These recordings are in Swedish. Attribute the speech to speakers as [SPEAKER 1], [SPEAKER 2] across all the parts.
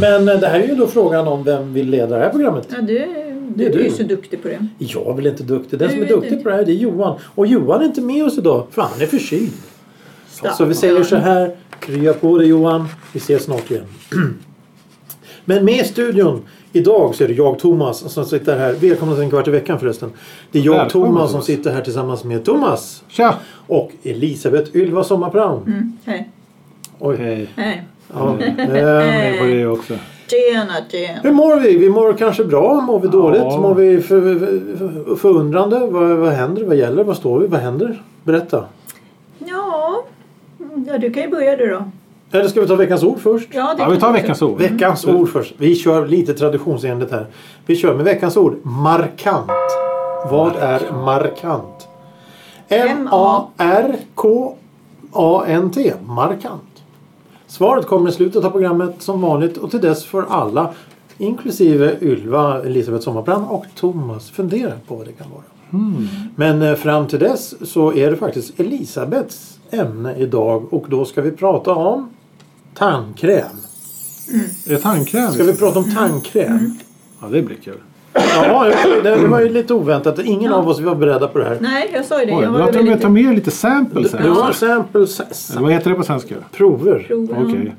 [SPEAKER 1] Men eh, det här är ju då frågan om vem vill leda det här programmet.
[SPEAKER 2] Ja, du,
[SPEAKER 1] Det
[SPEAKER 2] du
[SPEAKER 1] är
[SPEAKER 2] är
[SPEAKER 1] du.
[SPEAKER 2] ju så duktig på det.
[SPEAKER 1] Jag är väl inte duktig. Den
[SPEAKER 2] Du
[SPEAKER 1] som är
[SPEAKER 2] vet
[SPEAKER 1] duktig
[SPEAKER 2] inte.
[SPEAKER 1] på det här det är Johan. Och Johan är inte med oss idag för han är förkyld. Så vi säger så här. Krya på dig Johan. Vi ses snart igen. Men med i studion idag så är det jag Thomas som sitter här. Välkomna till en kvart i veckan förresten. Det är jag
[SPEAKER 3] Välkommen,
[SPEAKER 1] Thomas som
[SPEAKER 3] Thomas.
[SPEAKER 1] sitter här tillsammans med Thomas.
[SPEAKER 3] Tja!
[SPEAKER 1] Och Elisabeth Ylva Sommarprån.
[SPEAKER 2] Mm, hej.
[SPEAKER 1] Oj.
[SPEAKER 3] Hej.
[SPEAKER 2] Hej.
[SPEAKER 1] Ja.
[SPEAKER 3] Jag
[SPEAKER 1] ehm,
[SPEAKER 3] är på det också.
[SPEAKER 2] Tjena, tjena.
[SPEAKER 1] Hur mår vi? Vi mår kanske bra, mår vi dåligt? Mår vi för, för, förundrande? Vad, vad händer? Vad gäller? Vad står vi? Vad händer? Berätta.
[SPEAKER 2] Ja. Mm, ja, du kan ju börja du då.
[SPEAKER 1] Eller ska vi ta veckans ord först?
[SPEAKER 2] Ja, det
[SPEAKER 3] Ja, vi
[SPEAKER 2] kan
[SPEAKER 3] tar
[SPEAKER 2] du.
[SPEAKER 3] veckans ord.
[SPEAKER 1] Veckans ord först. Vi kör lite traditionsenligt här. Vi kör med veckans ord. Markant. Vad är markant? M-A-R-K-A-N-T. Markant. Svaret kommer i slutet av programmet som vanligt och till dess får alla inklusive Ylva, Elisabeth Sommarbrand och Thomas fundera på vad det kan vara. Men eh, fram till dess så är det faktiskt Elisabeths ämne idag och då ska vi prata om tandkräm.
[SPEAKER 3] Är det tandkräm?
[SPEAKER 1] Ska vi prata om tandkräm?
[SPEAKER 2] Mm.
[SPEAKER 3] Ja, det blir kul.
[SPEAKER 1] Ja, det det var ju lite oväntat. Ingen av oss var beredda på det här.
[SPEAKER 2] Nej, jag sa ju det.
[SPEAKER 3] Oj,
[SPEAKER 2] jag
[SPEAKER 3] då
[SPEAKER 2] var
[SPEAKER 3] har
[SPEAKER 2] väl
[SPEAKER 3] de
[SPEAKER 2] lite...
[SPEAKER 3] ta med lite samples
[SPEAKER 1] Det
[SPEAKER 3] här.
[SPEAKER 1] var samples, s-
[SPEAKER 3] Eller vad heter det på
[SPEAKER 2] Mm.
[SPEAKER 3] svenska?
[SPEAKER 1] prover.
[SPEAKER 2] Prov, ja.
[SPEAKER 3] Okej.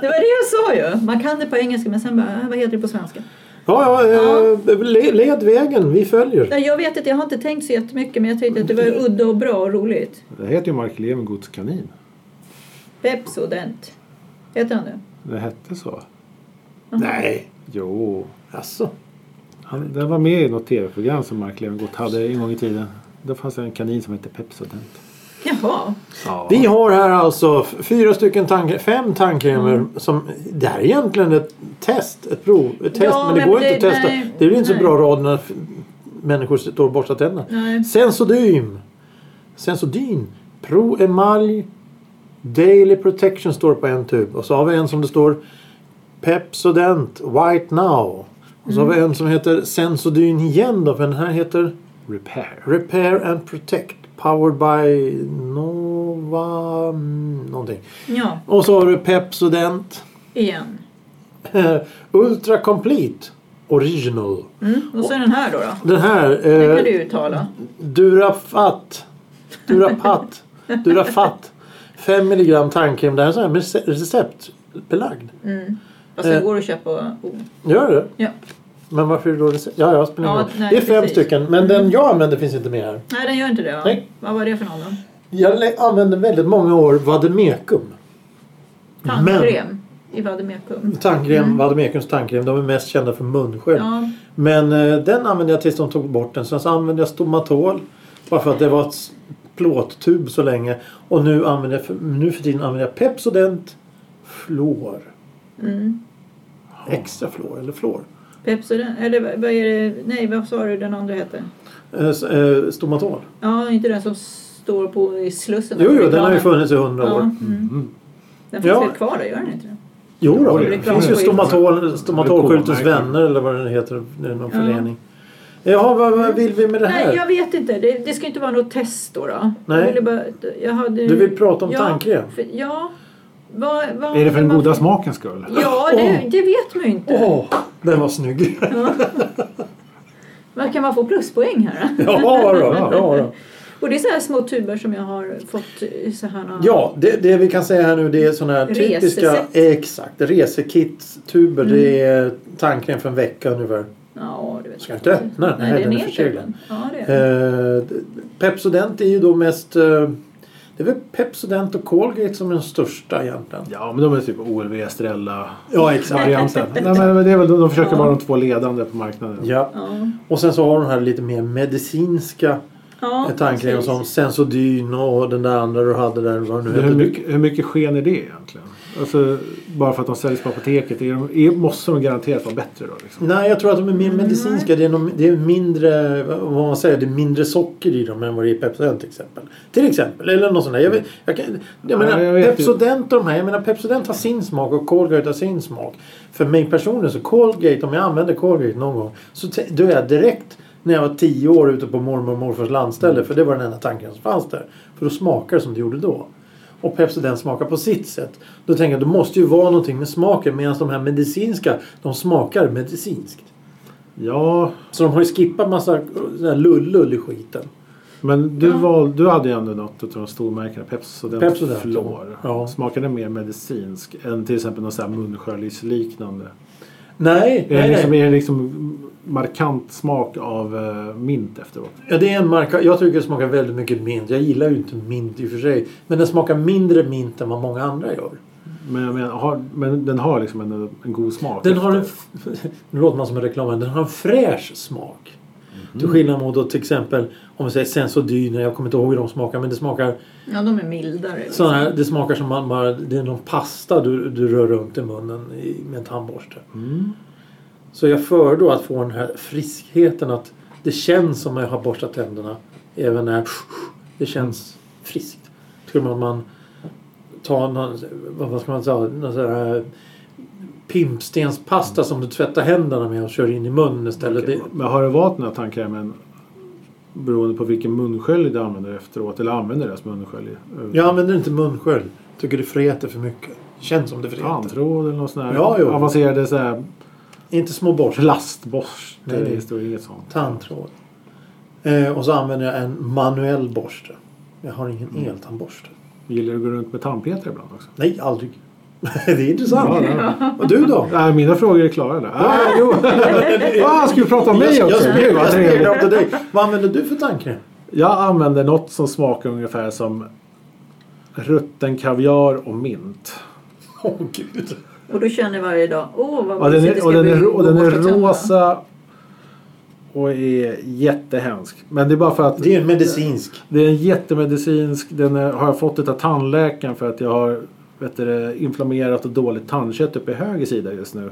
[SPEAKER 2] Det var det jag sa ju. Man kan det på engelska men sen bara, äh, vad heter det på svenska?
[SPEAKER 1] Ja, ja, eh, le- led vägen. Vi följer.
[SPEAKER 2] Nej, Jag vet inte, jag har inte tänkt så jättemycket men jag tänkte att det var udda och bra och roligt.
[SPEAKER 3] Det heter ju Mark Levengods kanin.
[SPEAKER 2] Pepsodent. Heter han det?
[SPEAKER 3] Det hette så.
[SPEAKER 1] Nej,
[SPEAKER 3] Jo.
[SPEAKER 1] alltså.
[SPEAKER 3] Han, den var med i något tv-program som Mark Levengood hade en gång i tiden. Då fanns det en kanin som hette Pepsodent.
[SPEAKER 2] Jaha.
[SPEAKER 3] Ja.
[SPEAKER 1] Vi har här alltså f- fyra stycken tandkrämer, fem tandkrämer.
[SPEAKER 2] Mm.
[SPEAKER 1] Som, det här är egentligen ett test, ett prov. Ett test,
[SPEAKER 2] Ja,
[SPEAKER 1] men det
[SPEAKER 2] men
[SPEAKER 1] går
[SPEAKER 2] det-
[SPEAKER 1] inte att testa.
[SPEAKER 2] nej,
[SPEAKER 1] det blir inte så
[SPEAKER 2] nej.
[SPEAKER 1] bra rad när f- människor står och borstar tänderna.
[SPEAKER 2] Nej.
[SPEAKER 1] Sensodym. Sensodyn. Pro Emalj. Daily Protection står på en tub. Och så har vi en som det står Pepsodent White Now. Och så har vi en som heter Sensodyn igen då. För den här heter
[SPEAKER 3] Repair.
[SPEAKER 1] Repair and Protect. Powered by Nova... någonting.
[SPEAKER 2] Ja,
[SPEAKER 1] Och så har du Pepsodent.
[SPEAKER 2] igen.
[SPEAKER 1] Ultra Complete Original.
[SPEAKER 2] Mm. Och så den här då. då.
[SPEAKER 1] Den här...
[SPEAKER 2] Den
[SPEAKER 1] eh,
[SPEAKER 2] kan du uttala.
[SPEAKER 1] Durafat. Durapat. Durafat. 5 milligram tandkräm. Det här är så här med rece- receptbelagd.
[SPEAKER 2] Fast det
[SPEAKER 1] eh.
[SPEAKER 2] går att köpa. Oh.
[SPEAKER 1] Gör det?
[SPEAKER 2] Ja.
[SPEAKER 1] Men varför är det då recept? Ja, ja, spelar ingen
[SPEAKER 2] Ja,
[SPEAKER 1] roll.
[SPEAKER 2] nej,
[SPEAKER 1] Det är fem
[SPEAKER 2] precis. Mm.
[SPEAKER 1] stycken. Men den jag använder finns inte med här.
[SPEAKER 2] Nej, den gör inte det va?
[SPEAKER 1] Nej.
[SPEAKER 2] Vad var det för någon då?
[SPEAKER 1] Jag lä- använde väldigt många år Vademekum.
[SPEAKER 2] Tandkräm i vademekum.
[SPEAKER 1] Tandkräm,
[SPEAKER 2] Mm.
[SPEAKER 1] Vademekums tandkräm. De är mest kända för munskölj.
[SPEAKER 2] Ja.
[SPEAKER 1] Men eh, den använde jag tills de tog bort den. Sen så använde jag Stomatol. Bara för att det var ett s- plåttub så länge. Och nu, använder jag för, nu för tiden använder jag Pepsodent Fluor.
[SPEAKER 2] Mm.
[SPEAKER 1] Extra fluor eller fluor.
[SPEAKER 2] Pepsodent. Eller vad vad är det? Nej, vad sa du den andra hette?
[SPEAKER 1] Eh, s- eh, Stomatol.
[SPEAKER 2] Ja, inte den som står på i Slussen.
[SPEAKER 1] Jo, jo, den har ju
[SPEAKER 2] Reklamen.
[SPEAKER 1] funnits i hundra
[SPEAKER 2] Ja,
[SPEAKER 1] år.
[SPEAKER 2] mm. Den finns
[SPEAKER 1] Ja.
[SPEAKER 2] väl kvar där, gör den inte det?
[SPEAKER 1] Jo då,
[SPEAKER 3] Oj,
[SPEAKER 1] det
[SPEAKER 2] reklamskylt.
[SPEAKER 1] finns ju stomatol, Stomatolskyltens
[SPEAKER 3] Reklamärken.
[SPEAKER 1] vänner eller vad den heter. Det är någon
[SPEAKER 2] Ja.
[SPEAKER 1] förening. Jaha, vad, vad vill vi med det
[SPEAKER 2] Nej, jag
[SPEAKER 1] här?
[SPEAKER 2] vet inte. Det, det ska inte vara något test då. då.
[SPEAKER 1] Nej.
[SPEAKER 2] Jag ville bara, jag hade,
[SPEAKER 1] Du vill prata om tandkräm?
[SPEAKER 2] För, ja. Vad- vad-
[SPEAKER 3] Är det för den
[SPEAKER 2] vad-
[SPEAKER 3] goda smakens skull?
[SPEAKER 2] Ja, det, det vet man ju inte.
[SPEAKER 1] Åh, den var snygg.
[SPEAKER 2] Men Kan man få pluspoäng här? då?
[SPEAKER 1] Ja då, ja då.
[SPEAKER 2] Och det är så här små tuber som jag har fått i så här... några-
[SPEAKER 1] Ja, det, det vi kan säga här nu det är sådana här typiska...
[SPEAKER 2] Resesätt.
[SPEAKER 1] Exakt, resekitstuber. Det
[SPEAKER 2] Mm.
[SPEAKER 1] är tandkräm för en vecka ungefär.
[SPEAKER 2] Ja, du vet.
[SPEAKER 1] Ska jag inte öppna den? Nej, den är förkyld.
[SPEAKER 2] nedklippt. Ja, det är den.
[SPEAKER 1] Eh, Pepsodent är ju då mest... Eh, det är väl Pepsodent och Colgate som är de största egentligen.
[SPEAKER 3] Ja, men de är typ OLW, Estrella,
[SPEAKER 1] Ja, exakt.
[SPEAKER 3] varianten. Nej, men det är väl, de försöker vara de två ledande på marknaden.
[SPEAKER 1] Ja.
[SPEAKER 2] Ja.
[SPEAKER 1] Och sen så har de här lite mer medicinska
[SPEAKER 2] Ja,
[SPEAKER 1] Ett tandkräm
[SPEAKER 2] precis.
[SPEAKER 1] som Sensodyn och den där andra du hade där. Vad nu
[SPEAKER 3] Men hur,
[SPEAKER 1] hette.
[SPEAKER 3] mycket, hur mycket sken är det egentligen? Alltså, bara för att de säljs på apoteket, är de, är, måste de garanterat vara bättre då? Liksom?
[SPEAKER 1] Nej, jag tror att de är mer medicinska. Det är, nog- det är mindre, vad man säger, det är mindre socker i dem än vad det är i Pepsodent till exempel. Till exempel, eller något sånt där. Jag, vet, jag, kan, jag menar,
[SPEAKER 3] Ja, jag vet ju.
[SPEAKER 1] Pepsodent och de här, jag menar Pepsodent har sin smak och Colgate har sin smak. För mig personligen så Colgate, om jag använder Colgate någon gång så t- då är jag direkt när jag var tio år ute på mormor och morfars landställe
[SPEAKER 3] Mm.
[SPEAKER 1] för det var den enda tanken som fanns där. För då smakar det som det gjorde då. Och Pepsodent smakar på sitt sätt. Då tänker jag, det måste ju vara någonting med smaken medan de här medicinska, de smakar medicinskt.
[SPEAKER 3] Ja,
[SPEAKER 1] Så de har ju skippat massa eh, sån här lullull i skiten.
[SPEAKER 3] men du, val, du hade ju ändå något utav de stormärkena, Pepsodent,
[SPEAKER 1] Pepsodent,
[SPEAKER 3] Flor.
[SPEAKER 1] ja.
[SPEAKER 3] Smakar den mer medicinsk än till exempel någon sån här munsköljningsliknande?
[SPEAKER 1] Nej,
[SPEAKER 3] Är, det
[SPEAKER 1] nej,
[SPEAKER 3] liksom,
[SPEAKER 1] nej.
[SPEAKER 3] är det liksom markant smak av eh, mint efteråt?
[SPEAKER 1] Ja, det är en marka. Jag tycker det smakar väldigt mycket mint. Jag gillar ju inte mint i och för sig. Men den smakar mindre mint än vad många andra gör.
[SPEAKER 3] Men, jag menar, har, men den har liksom en, en god smak.
[SPEAKER 1] Den har en...
[SPEAKER 3] efter.
[SPEAKER 1] Nu låter man som en reklamare. Den har en fräsch smak. Till skillnad mot då till exempel om vi säger Sensodyne. Jag kommer inte ihåg hur de smakar men det smakar
[SPEAKER 2] Ja, de är mildare. liksom.
[SPEAKER 1] sådana här, Det smakar som man bara... Det är någon pasta du, du rör runt i munnen i, med en tandborste.
[SPEAKER 3] Mm.
[SPEAKER 1] Så jag föredrar att få den här friskheten att det känns som att jag har borstat tänderna. Även när det känns friskt. Tror man att man tar någon, vad vad ska man säga, någon sån här pimpstenspasta som du tvättar händerna med och kör in i munnen istället.
[SPEAKER 3] Okej,
[SPEAKER 1] Det,
[SPEAKER 3] Men har det varit den här tandkrämen beroende på vilken munskölj du använder efteråt? Eller använder deras munskölj?
[SPEAKER 1] jag använder inte munskölj. Tycker det fräter för mycket. Känns som det fräter.
[SPEAKER 3] Tandtråd eller någon sån här
[SPEAKER 1] Ja, jo.
[SPEAKER 3] avancerade så här
[SPEAKER 1] Inte små borstar.
[SPEAKER 3] plastborste.
[SPEAKER 1] Nej, nej.
[SPEAKER 3] historia, inget sånt.
[SPEAKER 1] Tandtråd. Eh, och så använder jag en manuell borste. Jag har ingen
[SPEAKER 3] Mm.
[SPEAKER 1] eltandborste.
[SPEAKER 3] Gillar du att gå runt med tandpetare ibland också?
[SPEAKER 1] Nej, aldrig. det är intressant.
[SPEAKER 3] Ja, det
[SPEAKER 1] Och du då?
[SPEAKER 3] Nej, mina frågor är klara där. Ah, jo. ah, ska vi prata om mig
[SPEAKER 1] Jag-
[SPEAKER 3] också?
[SPEAKER 1] Jag
[SPEAKER 3] Gud, vad trevligt.
[SPEAKER 1] speglar till dig. Vad använder du för tandkräm?
[SPEAKER 3] Jag använder något som smakar ungefär som rutten kaviar och mint.
[SPEAKER 1] Åh oh, gud.
[SPEAKER 2] Och du känner varje dag, åh vad
[SPEAKER 3] Och den
[SPEAKER 2] mysigt det
[SPEAKER 3] är,
[SPEAKER 2] ska
[SPEAKER 3] och den
[SPEAKER 2] bli
[SPEAKER 3] är, och den är
[SPEAKER 2] att borsta tänderna."
[SPEAKER 3] rosa och är jättehemsk. Men det är bara för att
[SPEAKER 1] Det är en medicinsk.
[SPEAKER 3] det är en jättemedicinsk. Den är, har jag fått av tandläkaren för att jag har vet du, det, inflammerat och dåligt tandkött uppe i höger sida just nu.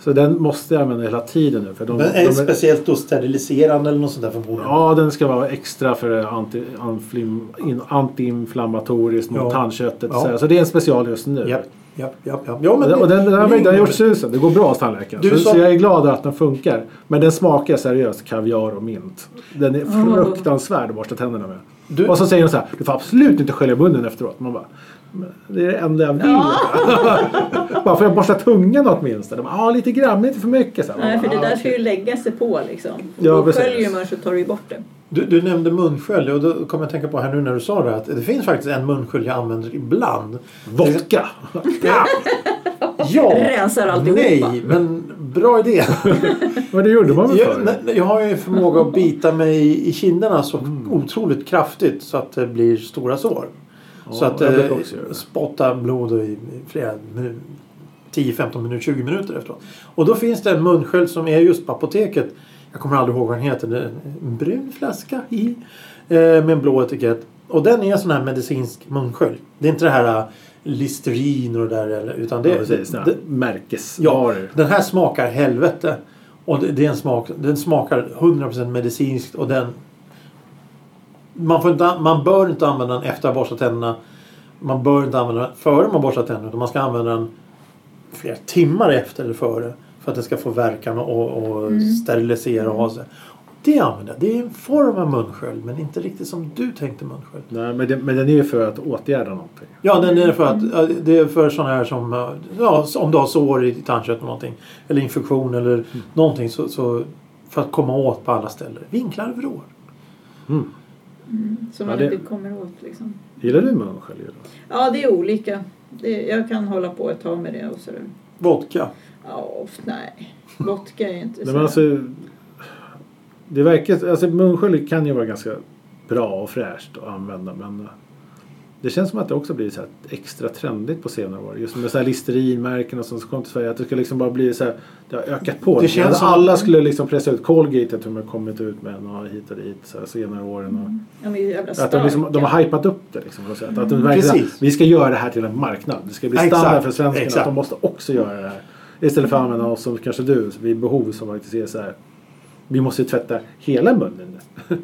[SPEAKER 3] Så den måste jag använda hela tiden nu. För de,
[SPEAKER 1] Men är
[SPEAKER 3] de
[SPEAKER 1] det speciellt då steriliserande eller något sånt där förmodligen?
[SPEAKER 3] Ja, den ska vara extra för anti, anflim, in, antiinflammatoriskt mot
[SPEAKER 1] Ja.
[SPEAKER 3] tandköttet.
[SPEAKER 1] Ja.
[SPEAKER 3] Så, här. så det är en special just nu.
[SPEAKER 1] Japp, japp, japp. japp. Ja, men
[SPEAKER 3] Och den, den, har-
[SPEAKER 1] det-
[SPEAKER 3] den har gjort susen. Det går bra hos tandläkaren.
[SPEAKER 1] Du
[SPEAKER 3] Så,
[SPEAKER 1] sa-
[SPEAKER 3] så jag är glad att den funkar. Men den smakar seriöst kaviar och mint. Den är fruktansvärd att borsta tänderna med.
[SPEAKER 1] Du-
[SPEAKER 3] Och så säger de så här, du får absolut inte skölja munnen efteråt. Man bara, "Men det är det enda jag vill. bara får jag borsta tungan åtminstone? De bara, Ja, lite grann, men inte för mycket. Så här, man
[SPEAKER 2] Nej, för
[SPEAKER 3] bara,
[SPEAKER 2] det
[SPEAKER 3] "Ah,
[SPEAKER 2] där
[SPEAKER 3] okej."
[SPEAKER 2] ska ju lägga sig på liksom.
[SPEAKER 3] Ja,
[SPEAKER 2] Ja, då
[SPEAKER 3] precis.
[SPEAKER 2] sköljer man så tar du ju bort det.
[SPEAKER 1] Du, du nämnde munskölj och då kom jag att tänka på här nu när du sa det att det finns faktiskt en munskölj jag använder ibland.
[SPEAKER 3] Ah, Vodka!
[SPEAKER 1] Ja! ja.
[SPEAKER 2] Rensar alltihopa.
[SPEAKER 1] Nej, men bra idé.
[SPEAKER 3] Vad det Mm. gjorde man väl förr?
[SPEAKER 1] Jag, nej, nej, jag har ju en förmåga att bita mig i- i kinderna så otroligt kraftigt så att det blir stora sår. så
[SPEAKER 3] Ja,
[SPEAKER 1] att
[SPEAKER 3] jag brukar
[SPEAKER 1] eh,
[SPEAKER 3] också göra det.
[SPEAKER 1] spotta blod i i flera minu- 10, 15 minuter, 20 minuter efteråt. Och då finns det en munskölj som är just på apoteket. Jag kommer aldrig ihåg vad den heter. Det är En brun flaska i. eh, Med en blå etikett. Och den är en sån här medicinsk munskölj. Det är inte det här eh, Listerin och det där. eller- Utan det,
[SPEAKER 3] ja, precis.
[SPEAKER 1] det,
[SPEAKER 3] såna här
[SPEAKER 1] det, Ja,
[SPEAKER 3] märkesvaror.
[SPEAKER 1] den här smakar helvete. Och det, det är en smak, den smakar 100% medicinskt och den... Man, får inte, an- man bör inte använda den efter att ha borstat tänderna. Man bör inte använda den före man borstat tänderna. Utan man ska använda den flera timmar efter eller före. För att den ska få verkan och, och sterilisera och ha sig. Det använder jag. Det är en form av munskölj men inte riktigt som du tänkte munskölj.
[SPEAKER 3] Nej, men, det, men den är ju för att åtgärda någonting.
[SPEAKER 1] Ja, den är för att ja, det är för sådana här som eh, ja, om du har sår i tandkött eller någonting eller infektion eller någonting så, så för att komma åt på alla ställen. Vinklar och vrår.
[SPEAKER 2] Så
[SPEAKER 3] Ja,
[SPEAKER 2] man
[SPEAKER 3] det-
[SPEAKER 2] inte kommer åt liksom.
[SPEAKER 3] Gillar du munskölj? Julia?
[SPEAKER 2] Ja, det är olika. Det, jag kan hålla på ett tag med det och sådär.
[SPEAKER 1] Vodka.
[SPEAKER 2] Ja, off, nej. Vodka är inte
[SPEAKER 3] Nej,
[SPEAKER 2] så...
[SPEAKER 3] men alltså, det alltså, verkar, alltså munskölj kan ju vara ganska bra och fräscht att använda men Det känns som att det också blivit så här extra trendigt på senare år. Just med så här Listerin-märken och sånt som kom till Sverige. Att det ska liksom bara bli så här, det har ökat på.
[SPEAKER 1] Det känns
[SPEAKER 3] Att
[SPEAKER 1] som-
[SPEAKER 3] alla skulle liksom pressa ut Colgate, hur de har kommit ut med en och hit och dit så här, senare åren. Och,
[SPEAKER 4] De är ju jävla
[SPEAKER 3] Att de, liksom, de har hypat upp det liksom, på något sätt. Att de verkligen,
[SPEAKER 1] Precis.
[SPEAKER 3] vi ska göra det här till en marknad. Det ska bli
[SPEAKER 1] Exakt,
[SPEAKER 3] standard för svenskarna. Att
[SPEAKER 1] exakt.
[SPEAKER 3] de måste också göra det här. Istället för att använda oss som kanske du, vid behov som faktiskt är så här. Vi måste ju tvätta hela munnen.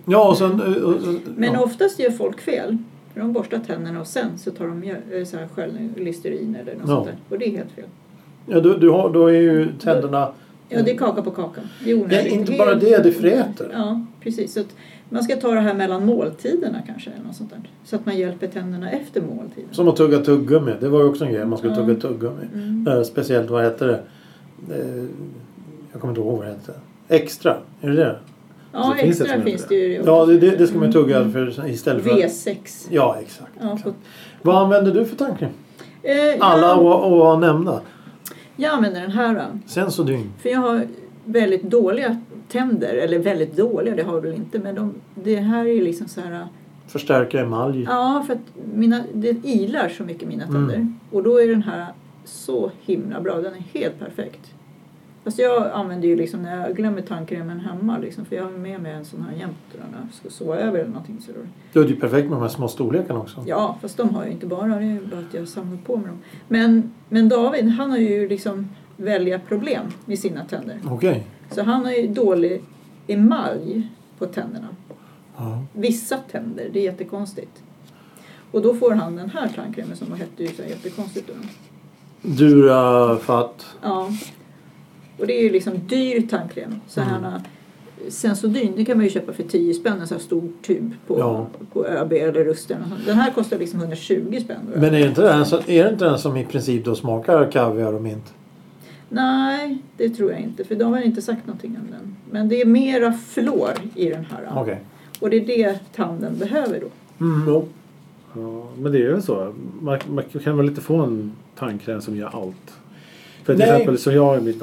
[SPEAKER 1] Ja, och sen... eh, Och, och,
[SPEAKER 2] Men
[SPEAKER 1] ja.
[SPEAKER 2] oftast gör folk fel. För de borstar tänderna och sen så tar de eh, så här skölj- Listerin eller något
[SPEAKER 1] Ja.
[SPEAKER 2] sånt där. Och det är helt fel.
[SPEAKER 1] Ja, du, du har, då är ju tänderna...
[SPEAKER 2] Ja, det är kaka på kaka. Det är
[SPEAKER 1] Mm. Ja,
[SPEAKER 2] onödigt.
[SPEAKER 1] inte
[SPEAKER 2] Helt-
[SPEAKER 1] bara det, det fräter.
[SPEAKER 2] Ja, precis. Så att man ska ta det här mellan måltiderna kanske. Eller något sånt där. Så att man hjälper tänderna efter måltiden.
[SPEAKER 1] Som att tugga tuggummi. Det var ju också en grej man skulle
[SPEAKER 2] Ja.
[SPEAKER 1] tugga tuggummi.
[SPEAKER 2] Mm.
[SPEAKER 1] Eh, Speciellt, vad hette det? Eh, Jag kommer inte ihåg vad det hette. Extra, är det det?
[SPEAKER 2] Ja,
[SPEAKER 3] det finns ett
[SPEAKER 2] extra
[SPEAKER 3] som
[SPEAKER 2] finns
[SPEAKER 3] heter
[SPEAKER 2] det ju. också.
[SPEAKER 1] Ja, det, det, det ska man ju tugga för, istället för...
[SPEAKER 2] V6.
[SPEAKER 1] Ja, exakt.
[SPEAKER 2] Ja, på,
[SPEAKER 1] exakt. Vad använder du för tandkräm?
[SPEAKER 2] eh,
[SPEAKER 1] Alla
[SPEAKER 2] jag,
[SPEAKER 1] och, och nämnda.
[SPEAKER 2] jag använder den här. Då.
[SPEAKER 1] Sensodyne.
[SPEAKER 2] För jag har väldigt dåliga tänder. Eller väldigt dåliga, det har jag väl inte. Men de, det här är ju liksom så här...
[SPEAKER 1] Förstärka emalj.
[SPEAKER 2] Ja, för att mina, det ilar så mycket mina tänder.
[SPEAKER 1] Mm.
[SPEAKER 2] Och då är den här så himla bra. Den är helt perfekt. Fast jag använder ju liksom när jag glömmer tandkrämen hemma liksom, för jag har med mig en sån här jämt när jag ska sova över eller någonting. Så då,
[SPEAKER 1] Det är ju perfekt med de här små storlekarna också.
[SPEAKER 2] ja, fast de har jag ju inte bara. Det är ju bara att jag samlar på mig dem. Men, men David, han har ju liksom välja problem med sina tänder.
[SPEAKER 1] Okej.
[SPEAKER 2] Så han har ju dålig emalj på tänderna.
[SPEAKER 1] Ja.
[SPEAKER 2] vissa tänder. Det är jättekonstigt. Och då får han den här tandkrämen som hette ju så här jättekonstigt då.
[SPEAKER 1] Durafat.
[SPEAKER 2] Ja. Och det är ju liksom dyr tandkräm. Så här mm. Sensodyn, det kan man ju köpa för 10 spänn, en så här stor tub på,
[SPEAKER 1] Ja.
[SPEAKER 2] på ÖB eller Rusten. och sånt. Den här kostar liksom 120 spänn. då.
[SPEAKER 1] Men är det, inte den, som- är det inte den som i princip då smakar kaviar och mint?
[SPEAKER 2] Nej, det tror jag inte. För de har inte sagt någonting om den. Men det är mera fluor i den här.
[SPEAKER 1] Okej.
[SPEAKER 2] Och det är det tanden behöver då.
[SPEAKER 1] Mm, jo.
[SPEAKER 3] Ja, men det är ju så. Man, man kan väl inte få en tandkräm som gör allt. För till
[SPEAKER 1] Nej.
[SPEAKER 3] exempel så jag är mitt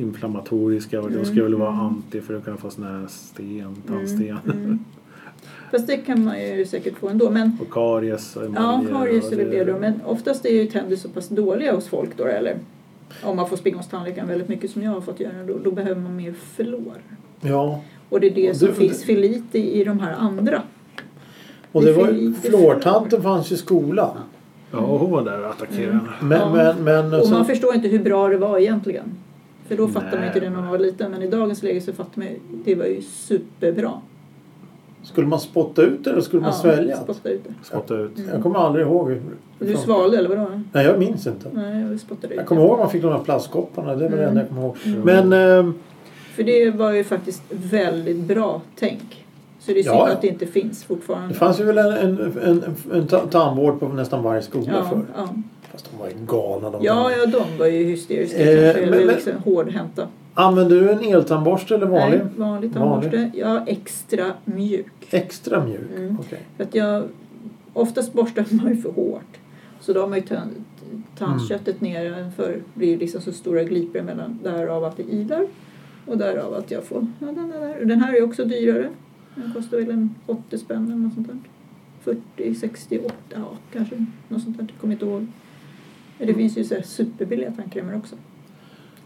[SPEAKER 3] antiinflammatoriska och då ska jag väl vara anti för att kunna få sån här sten, tandsten
[SPEAKER 2] Mm. Fast det kan man ju säkert få ändå. Men
[SPEAKER 3] och karies. Och
[SPEAKER 2] Ja,
[SPEAKER 3] emaljer
[SPEAKER 2] karies
[SPEAKER 3] och
[SPEAKER 2] är väl det då. Men oftast är ju tänder så pass dåliga hos folk då eller? Om man får springa hos tandläkaren väldigt mycket som jag har fått göra då, då behöver man mer fluor.
[SPEAKER 1] Ja.
[SPEAKER 2] Och det är det
[SPEAKER 1] Och
[SPEAKER 2] som
[SPEAKER 1] det-
[SPEAKER 2] finns för lite i de här andra.
[SPEAKER 1] Och
[SPEAKER 2] Det
[SPEAKER 1] det var
[SPEAKER 2] fin-
[SPEAKER 1] ju- fluortanten fanns ju i skolan.
[SPEAKER 3] Ja, och hon var där och attackerade.
[SPEAKER 2] Mm.
[SPEAKER 1] Men,
[SPEAKER 2] Ja.
[SPEAKER 1] men, men...
[SPEAKER 2] Och
[SPEAKER 1] så-
[SPEAKER 2] man förstår inte hur bra det var egentligen. För då fattade man
[SPEAKER 3] Nej.
[SPEAKER 2] inte det när man var liten. Men i dagens läge så fattar man ju, det var ju superbra.
[SPEAKER 1] Skulle man spotta ut det eller skulle man svälja?
[SPEAKER 2] spotta ut det.
[SPEAKER 3] Spotta ut.
[SPEAKER 1] Jag kommer aldrig ihåg hur...
[SPEAKER 2] Du svalde eller vadå?
[SPEAKER 1] Nej, jag minns inte.
[SPEAKER 2] Nej, jag spottade ut
[SPEAKER 1] Jag kommer
[SPEAKER 2] det.
[SPEAKER 1] ihåg att man fick de här plastkopparna. Det var det
[SPEAKER 2] Mm.
[SPEAKER 1] enda jag kommer ihåg.
[SPEAKER 3] Mm.
[SPEAKER 1] Men ehm,
[SPEAKER 2] För det var ju faktiskt väldigt bra tänk. Så det är synd
[SPEAKER 1] Ja, ja.
[SPEAKER 2] att det inte finns fortfarande.
[SPEAKER 1] det fanns ju väl en, en, en, en ta- tandvård på nästan varje skola
[SPEAKER 2] ja,
[SPEAKER 1] förr.
[SPEAKER 2] ja.
[SPEAKER 1] Fast de var ju galna de
[SPEAKER 2] Ja,
[SPEAKER 1] där.
[SPEAKER 2] ja, de var ju hysteriska
[SPEAKER 1] Eh,
[SPEAKER 2] kanske. Eller
[SPEAKER 1] men- men-
[SPEAKER 2] liksom hårdhänta.
[SPEAKER 1] Använder du en eltandborste eller vanlig?
[SPEAKER 2] Nej, vanligt
[SPEAKER 1] Vanlig.
[SPEAKER 2] tandborste. Ja, extra mjuk.
[SPEAKER 1] Extra mjuk?
[SPEAKER 2] Mm.
[SPEAKER 1] Okej.
[SPEAKER 2] För att jag, oftast borstar man ju för hårt. Så då har man ju tand, tandköttet nere för blir ju liksom så stora glipor mellan. Därav att det ilar och därav att jag får ja, den, där. Och den här är ju också dyrare. Den kostar väl en 80 spänn eller något sånt där. 40, 68, ja kanske något sånt där. Jag kommer inte ihåg. Men det finns ju så här superbilliga tandkrämer också.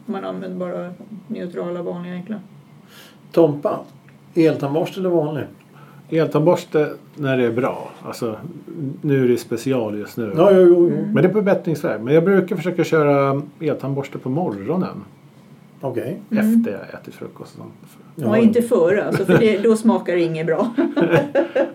[SPEAKER 2] Man använder bara neutrala, vanliga, enkla.
[SPEAKER 1] Tompa, eltandborste eller vanlig?
[SPEAKER 3] Eltandborste när det är bra. Alltså, nu är det special just nu.
[SPEAKER 1] Ja, jo, jo, jo.
[SPEAKER 2] Mm.
[SPEAKER 3] Men det är på bättringsväg. Men jag brukar försöka köra eltandborste på morgonen.
[SPEAKER 1] Okej.
[SPEAKER 2] Mm.
[SPEAKER 3] Efter jag ätit frukost och sånt.
[SPEAKER 2] Ja, inte före alltså, för det, då smakar det inget bra.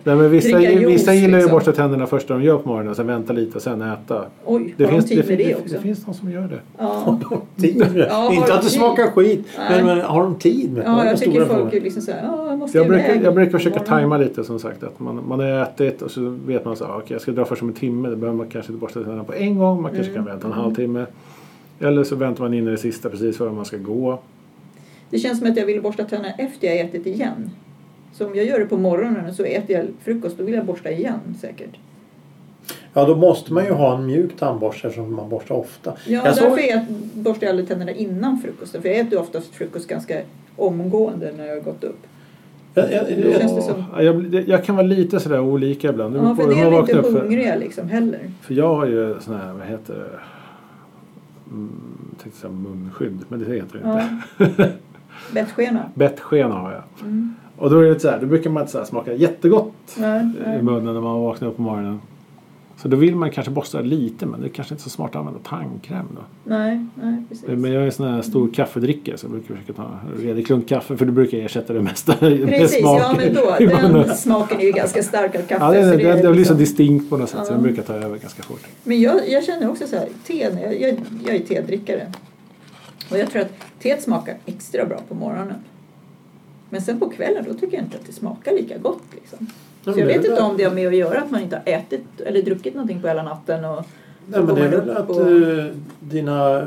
[SPEAKER 3] Nej, men vissa,
[SPEAKER 2] Dricka juice,
[SPEAKER 3] vissa gillar ju att
[SPEAKER 2] liksom.
[SPEAKER 3] borsta tänderna först när de gör på morgonen och sen vänta lite och sen äta.
[SPEAKER 2] Oj, har de tid med det,
[SPEAKER 3] det,
[SPEAKER 2] också?
[SPEAKER 3] det finns de som gör det.
[SPEAKER 2] Ja,
[SPEAKER 1] Tid.
[SPEAKER 2] Ja, har
[SPEAKER 1] inte
[SPEAKER 2] de
[SPEAKER 1] att det
[SPEAKER 2] tid?
[SPEAKER 1] smakar skit,
[SPEAKER 2] Nej.
[SPEAKER 1] men, men har de tid med det? Det är
[SPEAKER 2] ja
[SPEAKER 1] den
[SPEAKER 2] jag tycker
[SPEAKER 1] stora
[SPEAKER 2] folk
[SPEAKER 1] frågan.
[SPEAKER 2] är liksom såhär, ja jag måste
[SPEAKER 3] Jag brukar,
[SPEAKER 2] iväg
[SPEAKER 3] jag brukar försöka
[SPEAKER 2] imorgon."
[SPEAKER 3] tajma lite som sagt. Att man, man har ätit och så vet man så ah, okej jag ska dra först om en timme. Då behöver man kanske inte borsta tänderna på en gång. Man kanske
[SPEAKER 2] Mm.
[SPEAKER 3] kan vänta en halvtimme. Eller så väntar man in i det sista precis före man ska gå.
[SPEAKER 2] Det känns som att jag vill borsta tänderna efter jag ätit igen. Så om jag gör det på morgonen och så äter jag frukost, då vill jag borsta igen säkert.
[SPEAKER 1] Ja, då måste man ju ha en mjuk tandborste eftersom man borstar ofta.
[SPEAKER 2] Ja,
[SPEAKER 1] jag
[SPEAKER 2] därför
[SPEAKER 1] såg-
[SPEAKER 2] ät, borstar jag aldrig tänderna innan frukosten. För jag äter ju oftast frukost ganska omgående när jag har gått upp.
[SPEAKER 1] Jag, jag,
[SPEAKER 2] Då
[SPEAKER 1] jag,
[SPEAKER 2] känns det som-
[SPEAKER 3] Ja, jag, blir- jag kan vara lite sådär olika ibland. Det beror
[SPEAKER 2] Ja,
[SPEAKER 3] på
[SPEAKER 2] för
[SPEAKER 3] hur
[SPEAKER 2] det
[SPEAKER 3] man
[SPEAKER 2] är
[SPEAKER 3] vaknar
[SPEAKER 2] inte
[SPEAKER 3] upp
[SPEAKER 2] hungriga liksom heller.
[SPEAKER 3] För jag har ju sån här, vad heter det? Mm, jag tänkte säga munskydd, men det heter det inte.
[SPEAKER 2] Ja. Bettskena.
[SPEAKER 3] Bettskena har jag.
[SPEAKER 2] Mm.
[SPEAKER 3] Och då är det så här, då brukar man inte så här smaka jättegott
[SPEAKER 2] Nej,
[SPEAKER 3] i
[SPEAKER 2] nej.
[SPEAKER 3] munnen när man vaknar upp på morgonen. Så då vill man kanske borsta lite, men det är kanske inte så smart att använda tandkräm då.
[SPEAKER 2] nej, nej, precis. Mm.
[SPEAKER 3] Men jag är en sån här stor kaffedrickare så jag brukar försöka ta en redig klunk kaffe för det brukar jag ersätta det mesta med
[SPEAKER 2] Precis,
[SPEAKER 3] smak.
[SPEAKER 2] ja men då.
[SPEAKER 3] i munnen.
[SPEAKER 2] Den smaken är ju ganska stark av kaffe.
[SPEAKER 3] Ja, det,
[SPEAKER 2] så
[SPEAKER 3] det,
[SPEAKER 2] är
[SPEAKER 3] det, blir så
[SPEAKER 2] liksom-
[SPEAKER 3] distinkt på något sätt så
[SPEAKER 2] Ja.
[SPEAKER 3] den brukar ta över ganska fort.
[SPEAKER 2] Men jag, jag känner också så här, te, när jag, jag, jag är tedrickare. Och jag tror att teet smakar extra bra på morgonen. Men sen på kvällen då tycker jag inte att det smakar lika gott. Liksom.
[SPEAKER 1] Ja,
[SPEAKER 2] Så jag
[SPEAKER 1] men det är
[SPEAKER 2] vet inte
[SPEAKER 1] väl-
[SPEAKER 2] om det har med att göra att man inte har ätit eller druckit någonting på hela natten. Och,
[SPEAKER 1] Nej, men det är väl att eh, dina eh,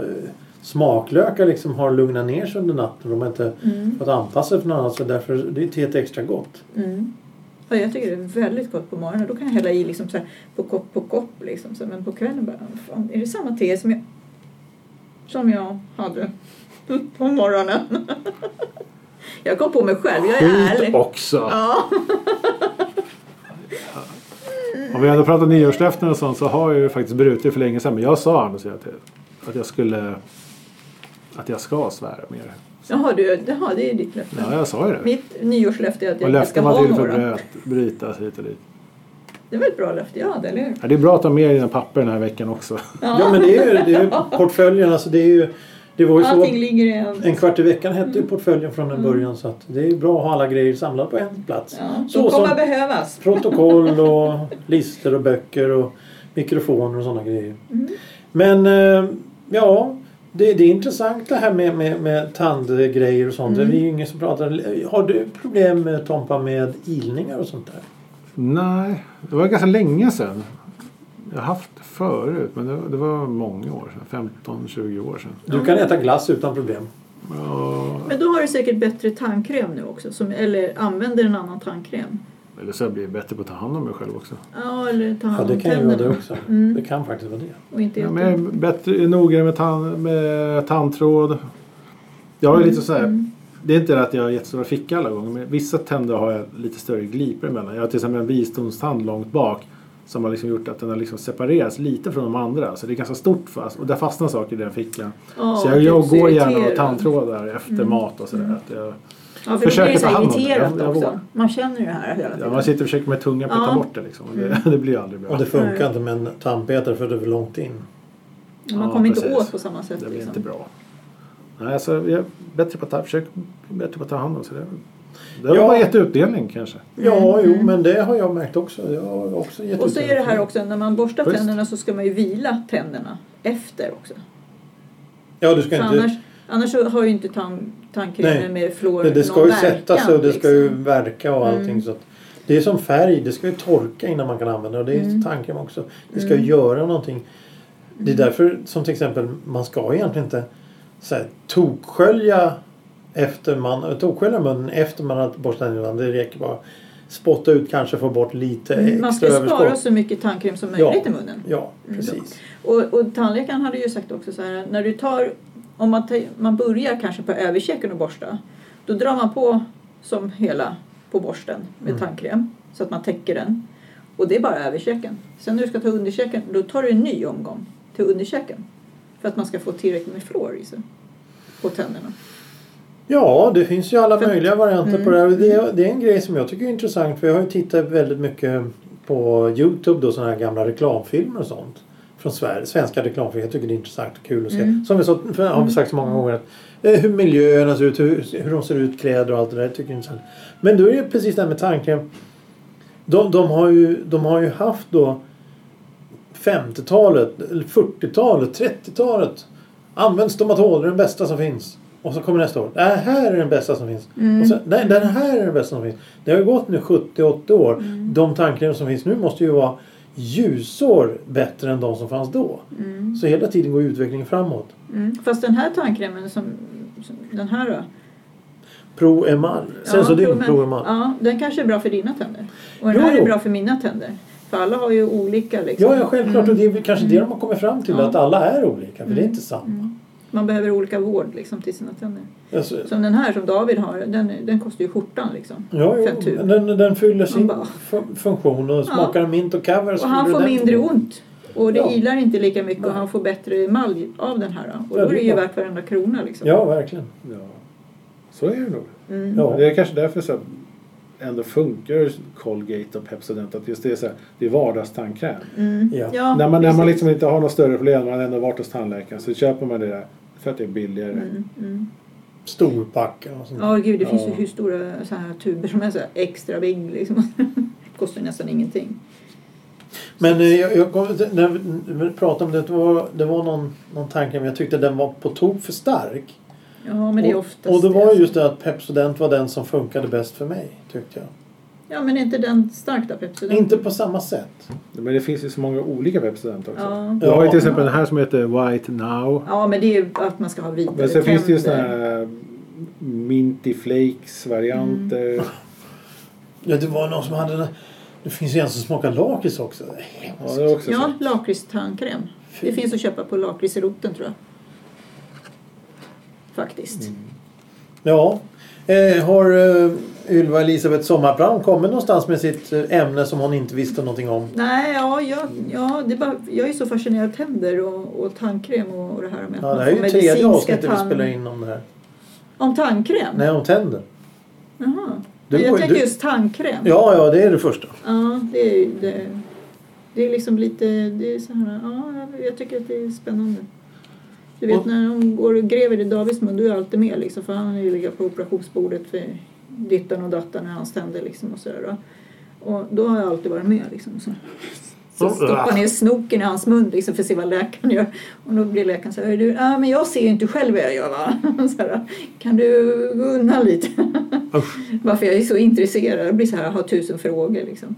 [SPEAKER 1] smaklökar liksom har lugnat ner sig under natten. De har inte
[SPEAKER 2] mm,
[SPEAKER 1] fått anpassa sig för något annat. Så därför det är teet extra gott.
[SPEAKER 2] mm. Ja, jag tycker det är väldigt gott på morgonen. Då kan jag hälla i liksom så här, på kopp på kopp. Liksom. Så, men på kvällen bara, fan, är det samma te som jag, som jag hade på morgonen? jag kom på mig själv, jag är ärlig.
[SPEAKER 3] Skit också!
[SPEAKER 2] Ja,
[SPEAKER 3] Om vi hade pratat nyårslöften och sånt så har jag ju faktiskt brutit för länge sedan. Men jag sa annars att jag, att jag skulle... Att jag ska svära mer.
[SPEAKER 2] Jaha, du, jaha, det är ditt löfte.
[SPEAKER 3] Ja, jag sa ju det.
[SPEAKER 2] Mitt nyårslöfte är att
[SPEAKER 3] Och
[SPEAKER 2] jag, jag ska
[SPEAKER 3] löften var
[SPEAKER 2] ha
[SPEAKER 3] till för
[SPEAKER 2] några.
[SPEAKER 3] att bröt- brytas hit och dit.
[SPEAKER 2] Det var ett bra löfte jag hade, eller hur?
[SPEAKER 3] Ja, det är bra att ha med dina papper den här veckan också.
[SPEAKER 1] Ja, men det är ju, det är ju portföljen. Alltså det, är ju, det var ju
[SPEAKER 2] Allting
[SPEAKER 1] så.
[SPEAKER 2] ligger Mm. i en...
[SPEAKER 1] En kvart i veckan hette ju portföljen från en början. Så att det är ju bra att ha alla grejer samlade på en plats.
[SPEAKER 2] Ja,
[SPEAKER 1] så
[SPEAKER 2] så kommer
[SPEAKER 1] som
[SPEAKER 2] behövas.
[SPEAKER 1] protokoll och listor och böcker och mikrofoner och sådana grejer.
[SPEAKER 2] Mm.
[SPEAKER 1] Men eh, ja, det, det är intressant det här med, med, med tandgrejer och sånt.
[SPEAKER 2] Mm.
[SPEAKER 1] Det är ju ingen som pratar. Har du problem eh, Tompa med ilningar och sånt där?
[SPEAKER 3] Nej, det var ganska länge sedan. Jag har haft det förut, men det, var- det var många år sedan. 15-20 år sedan.
[SPEAKER 1] Du kan äta glass utan problem.
[SPEAKER 3] Ja,
[SPEAKER 2] Men då har du säkert bättre tandkräm nu också, som, eller använder en annan tandkräm.
[SPEAKER 3] eller så har jag blivit bättre på att ta hand om mig själv också.
[SPEAKER 2] Ja, eller tar
[SPEAKER 1] Ja,
[SPEAKER 2] hand
[SPEAKER 1] det
[SPEAKER 2] om
[SPEAKER 1] kan ju vara det
[SPEAKER 2] tänderna.
[SPEAKER 1] också.
[SPEAKER 2] Mm.
[SPEAKER 1] Det kan faktiskt vara det.
[SPEAKER 2] Och inte
[SPEAKER 3] Ja,
[SPEAKER 2] äter.
[SPEAKER 3] men jag är bättre, noggrannare med, tand, med tandtråd. Jag har ju lite så här,
[SPEAKER 2] Mm.
[SPEAKER 3] Det är inte det att jag har jättestora fickor alla gånger men vissa tänder har jag lite större glipor emellan. Jag har till exempel en bistonstand långt bak som har liksom gjort att den har liksom separerats lite från de andra. Så det är ganska stort fast och där fastnar saker i den fickan.
[SPEAKER 2] Ja,
[SPEAKER 3] så jag, jag
[SPEAKER 2] typ så
[SPEAKER 3] går gärna och
[SPEAKER 2] irriterad.
[SPEAKER 3] tandtrådar efter
[SPEAKER 2] Mm.
[SPEAKER 3] mat och sådär. Att jag,
[SPEAKER 2] Ja, för då
[SPEAKER 3] Försöker
[SPEAKER 2] blir det så
[SPEAKER 3] ta
[SPEAKER 2] här
[SPEAKER 3] hand om det.
[SPEAKER 2] irriterat
[SPEAKER 3] Jag- jag vågar.
[SPEAKER 2] också. Man känner ju det här hela
[SPEAKER 3] ja,
[SPEAKER 2] tiden.
[SPEAKER 3] man sitter och försöker med tungan peta
[SPEAKER 2] Ja.
[SPEAKER 3] bort det liksom. Och Det, det blir ju aldrig bra.
[SPEAKER 1] Och det funkar
[SPEAKER 2] Nej.
[SPEAKER 1] inte med en tandpetare för det är för långt in.
[SPEAKER 2] man
[SPEAKER 3] Ja,
[SPEAKER 2] kommer inte
[SPEAKER 3] precis.
[SPEAKER 2] åt på samma sätt.
[SPEAKER 3] Det blir
[SPEAKER 2] liksom.
[SPEAKER 3] inte bra. Nej, alltså, jag är bättre på att ta, försöker bättre på att ta hand om sig. Det, det har
[SPEAKER 1] Ja.
[SPEAKER 3] bara gett utdelning kanske.
[SPEAKER 1] Ja, jo, men det har jag märkt också. Jag har också gett
[SPEAKER 2] Mm. Och så
[SPEAKER 1] utdelning
[SPEAKER 2] är det
[SPEAKER 1] för
[SPEAKER 2] här också, när man borstar
[SPEAKER 3] Just.
[SPEAKER 2] tänderna så ska man ju vila tänderna efter också.
[SPEAKER 1] Ja, du ska
[SPEAKER 2] För
[SPEAKER 1] inte...
[SPEAKER 2] annars, annars så har ju inte tand,
[SPEAKER 1] Nej.
[SPEAKER 2] tandkrämen med fluor
[SPEAKER 1] det, det ska ju
[SPEAKER 2] någon
[SPEAKER 1] sätta
[SPEAKER 2] verkan,
[SPEAKER 1] sig och det ska ju
[SPEAKER 2] liksom.
[SPEAKER 1] verka och allting.
[SPEAKER 2] Mm.
[SPEAKER 1] Så att det är som färg, det ska ju torka innan man kan använda det. Och det är
[SPEAKER 2] Mm.
[SPEAKER 1] tanken också. Det ska ju göra någonting. Det är därför som till exempel man ska egentligen inte så här, tokskölja efter man, äh, tokskölja munnen efter man har borstat tänderna. Det räcker bara spotta ut kanske få bort lite
[SPEAKER 2] Mm, Man
[SPEAKER 1] extra
[SPEAKER 2] ska spara
[SPEAKER 1] överskott.
[SPEAKER 2] så mycket tandkräm som möjligt
[SPEAKER 1] Ja.
[SPEAKER 2] i munnen.
[SPEAKER 1] Ja,
[SPEAKER 2] Mm.
[SPEAKER 1] precis.
[SPEAKER 2] Och, och tandläkaren hade ju sagt också så här, när du tar, om man, tar, man börjar kanske på överkäken och borsta, då drar man på som hela på borsten med
[SPEAKER 1] Mm.
[SPEAKER 2] tandkräm så att man täcker den. Och det är bara överkäken. Sen när du ska ta underkäken, då tar du en ny omgång till underkäken för att man ska få tillräckligt med fluor i sig på tänderna.
[SPEAKER 1] Ja, det finns ju alla
[SPEAKER 2] För- Mm.
[SPEAKER 1] möjliga varianter på det här. Det är, det är en grej som jag tycker är intressant för jag har ju tittat väldigt mycket på Youtube då sådana här gamla reklamfilmer och sånt. Från Sverige, svenska reklamfilmer. Jag tycker det är intressant och kul att se.
[SPEAKER 2] Mm.
[SPEAKER 1] Som vi så, för jag har sagt så många gånger att eh, hur miljöerna ser ut, hur, hur de ser ut, kläder och allt det där. Jag tycker det är intressant. Men då är det precis det här med tandkräm. De, de, har ju, de har ju haft då 50-talet, eller 40-talet, 30-talet. Använd stomatol, det är den bästa som finns. Och så kommer nästa år. Det här är den bästa som finns.
[SPEAKER 2] Mm.
[SPEAKER 1] Och sen, nej, den här är den bästa som finns. Det har ju gått nu 70-80 år.
[SPEAKER 2] Mm.
[SPEAKER 1] De tandkrämer som finns nu måste ju vara ljusår bättre än de som fanns då.
[SPEAKER 2] Mm.
[SPEAKER 1] Så hela tiden går ju utvecklingen framåt.
[SPEAKER 2] Mm. Fast den här tandkrämen, som, som, den här då?
[SPEAKER 1] Pro Emal. Sen
[SPEAKER 2] Ja,
[SPEAKER 1] så din
[SPEAKER 2] proven-
[SPEAKER 1] Pro Emal.
[SPEAKER 2] Ja, den kanske är bra för dina tänder. Och den
[SPEAKER 1] Jo,
[SPEAKER 2] här
[SPEAKER 1] jo.
[SPEAKER 2] är bra för mina tänder. För alla har ju olika liksom.
[SPEAKER 1] Ja, ja självklart. Och det är väl kanske det de har kommit fram till.
[SPEAKER 2] Mm. Ja.
[SPEAKER 1] Att alla är olika. För det är inte samma.
[SPEAKER 2] Mm. Man behöver olika vård liksom, till sina tänder.
[SPEAKER 1] Alltså,
[SPEAKER 2] Som den här som David har, den, den kostar ju skjortan liksom.
[SPEAKER 1] ja,
[SPEAKER 2] För en
[SPEAKER 1] jo,
[SPEAKER 2] tub.
[SPEAKER 1] den, den fyller sin
[SPEAKER 2] bara-
[SPEAKER 1] fu- funktion och smakar mint och cover. så
[SPEAKER 2] Och han
[SPEAKER 1] blir
[SPEAKER 2] får
[SPEAKER 1] det
[SPEAKER 2] mindre ont. Och det
[SPEAKER 1] Ja.
[SPEAKER 2] ilar inte lika mycket och
[SPEAKER 1] Nej.
[SPEAKER 2] han får bättre emalj av den här. Och
[SPEAKER 1] Ja, det är
[SPEAKER 2] då är det ju
[SPEAKER 1] klart.
[SPEAKER 2] värt varenda krona liksom.
[SPEAKER 1] Ja, verkligen.
[SPEAKER 3] Ja. Så är det nog.
[SPEAKER 2] Mm.
[SPEAKER 1] Ja.
[SPEAKER 3] Det är kanske därför så här, ändå funkar Colgate och Pepsodent. Att just det är så här, det är vardagstandkräm.
[SPEAKER 2] Mm.
[SPEAKER 1] Ja.
[SPEAKER 2] Ja,
[SPEAKER 3] när man, när man
[SPEAKER 2] precis.
[SPEAKER 3] liksom inte har något större problem, man har ändå varit hos tandläkaren, så köper man det där för att det är billigare.
[SPEAKER 2] Mm, mm.
[SPEAKER 1] Storpackar och sånt.
[SPEAKER 2] Ja, gud, det finns ju
[SPEAKER 3] Ja.
[SPEAKER 2] hur stora så här tuber som är så här extra big liksom. Kostar ju nästan ingenting.
[SPEAKER 1] Men eh, jag, jag kom, när vi- när vi pratade om det, det var, det var någon, någon tanke men jag tyckte den var på tok för stark.
[SPEAKER 2] Ja, men det är
[SPEAKER 1] Och-
[SPEAKER 2] oftast
[SPEAKER 1] Och det var
[SPEAKER 2] alltså.
[SPEAKER 1] just det att Pepsodent var den som funkade bäst för mig, tyckte jag.
[SPEAKER 2] Ja, men är inte den stark där Pepsi? Den-
[SPEAKER 1] Inte på samma sätt.
[SPEAKER 3] Men det finns ju så många olika Pepsodent också.
[SPEAKER 2] Ja.
[SPEAKER 3] Jag har ju
[SPEAKER 1] Ja.
[SPEAKER 3] till exempel den här som heter White Now.
[SPEAKER 2] ja, men det är ju att man ska ha vidare
[SPEAKER 3] Men sen finns det ju såna
[SPEAKER 2] tänder.
[SPEAKER 3] här Minty Flakes-varianter.
[SPEAKER 1] Ja, det var någon som hade... den- Det finns ju en som smakar lakrits också. Det är hemskt.
[SPEAKER 3] Ja, det är också
[SPEAKER 2] Ja,
[SPEAKER 3] så.
[SPEAKER 2] lakritstandkräm. Det finns att köpa på lakritsroten tror jag. Faktiskt.
[SPEAKER 1] Mm. Ja. Eh, har eh, Ylva Elisabeth Sommarbrand kommit någonstans med sitt eh, ämne som hon inte visste någonting om?
[SPEAKER 2] Nej, ja, jag, ja, det är bara, jag är så fascinerad av tänder och, och tandkräm och, och det här med att
[SPEAKER 1] Ja, det
[SPEAKER 2] man
[SPEAKER 1] här är
[SPEAKER 2] får
[SPEAKER 1] ju tredje
[SPEAKER 2] medicinska
[SPEAKER 1] avsnittet vi
[SPEAKER 2] tand-
[SPEAKER 1] spelar in om det här.
[SPEAKER 2] Om tandkräm?
[SPEAKER 1] Nej, om tänder.
[SPEAKER 2] Jaha.
[SPEAKER 1] Du
[SPEAKER 2] jag
[SPEAKER 1] går-
[SPEAKER 2] tänker
[SPEAKER 1] du-
[SPEAKER 2] just tandkräm.
[SPEAKER 1] Ja, ja, det är det första.
[SPEAKER 2] Ja, det är ju det. Det är liksom lite, det är så här, ja, jag- jag tycker att det är spännande. Du vet
[SPEAKER 1] Och-
[SPEAKER 2] när de går och gräver i Davids mun, du är alltid med liksom, för han är ju ligga på operationsbordet för dittan och dattan när hans tänder liksom och sådär. va. Och då har jag alltid varit med liksom. Så. Så
[SPEAKER 1] Mm.
[SPEAKER 2] stoppar ner snoken i hans mun liksom för att se vad läkaren gör. Och då blir läkaren så här, du, ah, men jag ser ju inte själv vad jag gör va? Så här, kan du gå undan lite? Varför jag är så intresserad, jag blir så här, jag har tusen frågor liksom.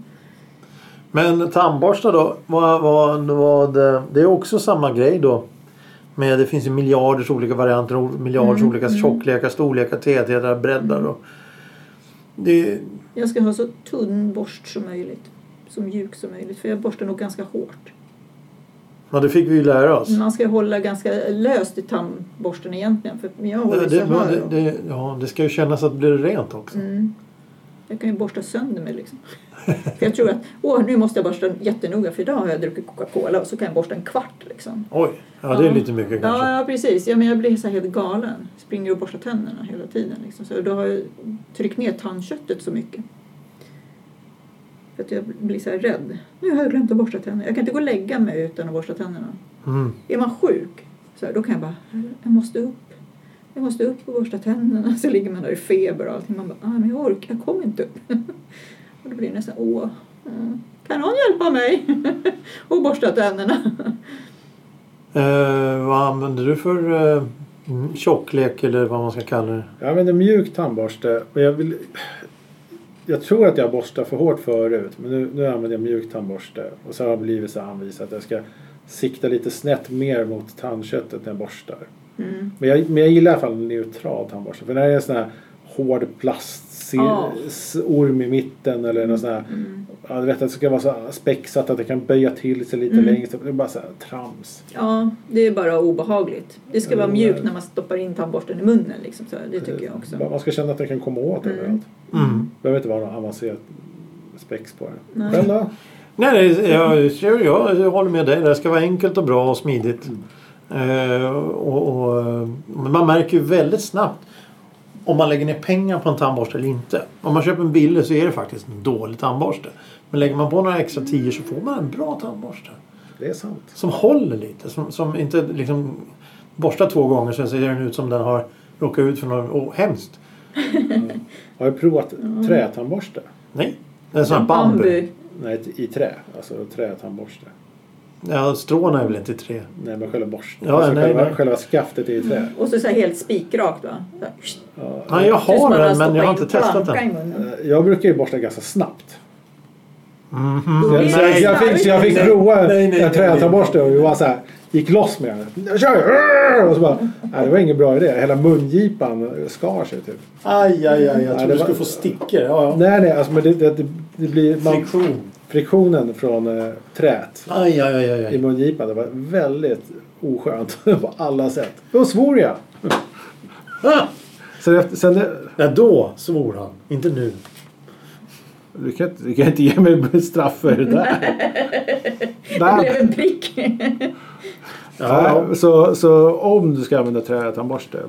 [SPEAKER 1] Men tandborsta då? Vad, vad, vad, eh, det är också samma grej då. Med, det finns ju miljarders olika varianter, o- miljarders
[SPEAKER 2] Mm,
[SPEAKER 1] olika tjocklekar, storlekar, tätheter, breddar. Och, det,
[SPEAKER 2] Jag ska ha så tunn borst som möjligt. Så mjuk som möjligt. För jag borstar nog ganska hårt.
[SPEAKER 1] ja, det fick vi ju lära oss.
[SPEAKER 2] Man ska hålla ganska löst i tandborsten egentligen. För men jag håller
[SPEAKER 1] Det,
[SPEAKER 2] så
[SPEAKER 1] det,
[SPEAKER 2] här.
[SPEAKER 1] det,
[SPEAKER 2] då.
[SPEAKER 1] det, ja, det ska ju kännas att det blir rent också.
[SPEAKER 2] Mm. Jag kan ju borsta sönder mig liksom. för jag tror att åh, nu måste jag borsta jättenoga för idag har jag druckit Coca-Cola och så kan jag borsta en kvart liksom.
[SPEAKER 1] Oj, ja det är
[SPEAKER 2] Ja.
[SPEAKER 1] lite mycket kanske.
[SPEAKER 2] Ja, ja precis. Ja, men jag blir så här helt galen. Springer och borstar tänderna hela tiden. Liksom. Så då har jag tryckt ner tandköttet så mycket. För att jag blir så här rädd. Nu har jag glömt att borsta tänderna. Jag kan inte gå och lägga mig utan att borsta tänderna.
[SPEAKER 1] Mm.
[SPEAKER 2] Är man sjuk, så här, då kan jag bara, jag måste upp. Jag måste upp och borsta tänderna. Så ligger man där i feber och allting. Man bara, ah, men jag orkar, jag kommer inte upp. och då blir det nästan, åh, mm, kan någon hjälpa mig? och borsta tänderna.
[SPEAKER 1] Eh, vad använder du för eh, mm, tjocklek eller vad man ska kalla det?
[SPEAKER 3] Jag använder mjuk tandborste. Men jag, vill, jag tror att jag borstade för hårt förut. Men nu, nu använder jag mjuk tandborste. Och så har jag blivit så här anvisad att jag ska sikta lite snett mer mot tandköttet när jag borstar.
[SPEAKER 2] Mm.
[SPEAKER 3] Men jag, men jag gillar i alla fall en neutral tandborste. För när det är en sån här hård
[SPEAKER 2] Ja.
[SPEAKER 3] plastorm i mitten eller någon sån här.
[SPEAKER 2] Mm.
[SPEAKER 3] Ja, du vet att det ska vara så här spexat att det kan böja till sig lite
[SPEAKER 2] Mm.
[SPEAKER 3] längst upp. Det är bara så här trams.
[SPEAKER 2] Ja, det är bara obehagligt. Det ska vara
[SPEAKER 3] Mm.
[SPEAKER 2] mjukt när man stoppar in tandborsten i munnen. Liksom, så här. det tycker jag också.
[SPEAKER 3] Bara Man ska känna att den kan komma åt
[SPEAKER 2] Mm.
[SPEAKER 3] överallt.
[SPEAKER 1] Mm.
[SPEAKER 3] Det behöver inte vara någon avancerat spex på den.
[SPEAKER 2] Nej.
[SPEAKER 3] Själv då?
[SPEAKER 1] Nej, nej jag, jag, jag, jag håller med dig. Det här ska vara enkelt och bra och smidigt.
[SPEAKER 2] Mm.
[SPEAKER 1] Eh, och, och, eh, men man märker ju väldigt snabbt om man lägger ner pengar på en tandborste eller inte. Om man köper en billig så är det faktiskt en dålig tandborste. Men lägger man på några extra tio så får man en bra tandborste.
[SPEAKER 3] Det är sant.
[SPEAKER 1] Som håller lite. Som, som inte liksom borstar två gånger så ser den ut som den har råkat ut för något oh, hemskt.
[SPEAKER 3] Har du provat trätandborste?
[SPEAKER 1] Nej. Det är sån här bambu.
[SPEAKER 3] Nej, t- i trä. Alltså trätandborste.
[SPEAKER 1] Ja, stråna är väl inte i trä.
[SPEAKER 3] Nej, men själva borsten.
[SPEAKER 1] Ja,
[SPEAKER 3] alltså
[SPEAKER 1] nej,
[SPEAKER 3] själva,
[SPEAKER 1] nej.
[SPEAKER 3] själva skaftet är i trä.
[SPEAKER 1] Mm.
[SPEAKER 2] Och så, så här helt spikrakt va? Så här, pssst.
[SPEAKER 3] Ja,
[SPEAKER 1] Ja, jag
[SPEAKER 2] Precis som
[SPEAKER 1] har
[SPEAKER 2] man
[SPEAKER 1] den men
[SPEAKER 2] stoppat
[SPEAKER 1] jag har
[SPEAKER 2] in
[SPEAKER 1] inte testat
[SPEAKER 2] planka
[SPEAKER 1] den.
[SPEAKER 2] i munnen.
[SPEAKER 3] eh, Jag brukar ju borsta ganska snabbt.
[SPEAKER 1] Mm.
[SPEAKER 2] Då blir det
[SPEAKER 3] Så jag, jag, fick, så jag fick
[SPEAKER 1] Nej.
[SPEAKER 3] prova
[SPEAKER 1] Nej, nej,
[SPEAKER 3] en
[SPEAKER 1] nej,
[SPEAKER 3] trätandborste och vi var så här, gick loss med den. Jag kör! Och så bara, nej, det var ingen bra idé. Hela mungipan skar sig typ.
[SPEAKER 1] Aj, aj, aj. Jag
[SPEAKER 3] Ja,
[SPEAKER 1] trodde du
[SPEAKER 3] det var-
[SPEAKER 1] skulle få stickor. Ja, ja.
[SPEAKER 3] Nej, nej, alltså men det, det, det, det blir... Man,
[SPEAKER 1] Friktion.
[SPEAKER 3] friktionen från eh, träet
[SPEAKER 1] Aj, aj, aj, aj,
[SPEAKER 3] i
[SPEAKER 1] aj.
[SPEAKER 3] mungipan. Det var väldigt oskönt på alla sätt. Då svor jag.
[SPEAKER 1] Ah!
[SPEAKER 3] Sen efter, sen det,
[SPEAKER 1] Ja, då svor han. Inte nu.
[SPEAKER 3] du, kan inte, du kan inte ge mig straff för det där.
[SPEAKER 2] Det
[SPEAKER 3] Nej.
[SPEAKER 2] blev en prick.
[SPEAKER 1] Ja,
[SPEAKER 3] Nej, Så, så om du ska använda trätandborste,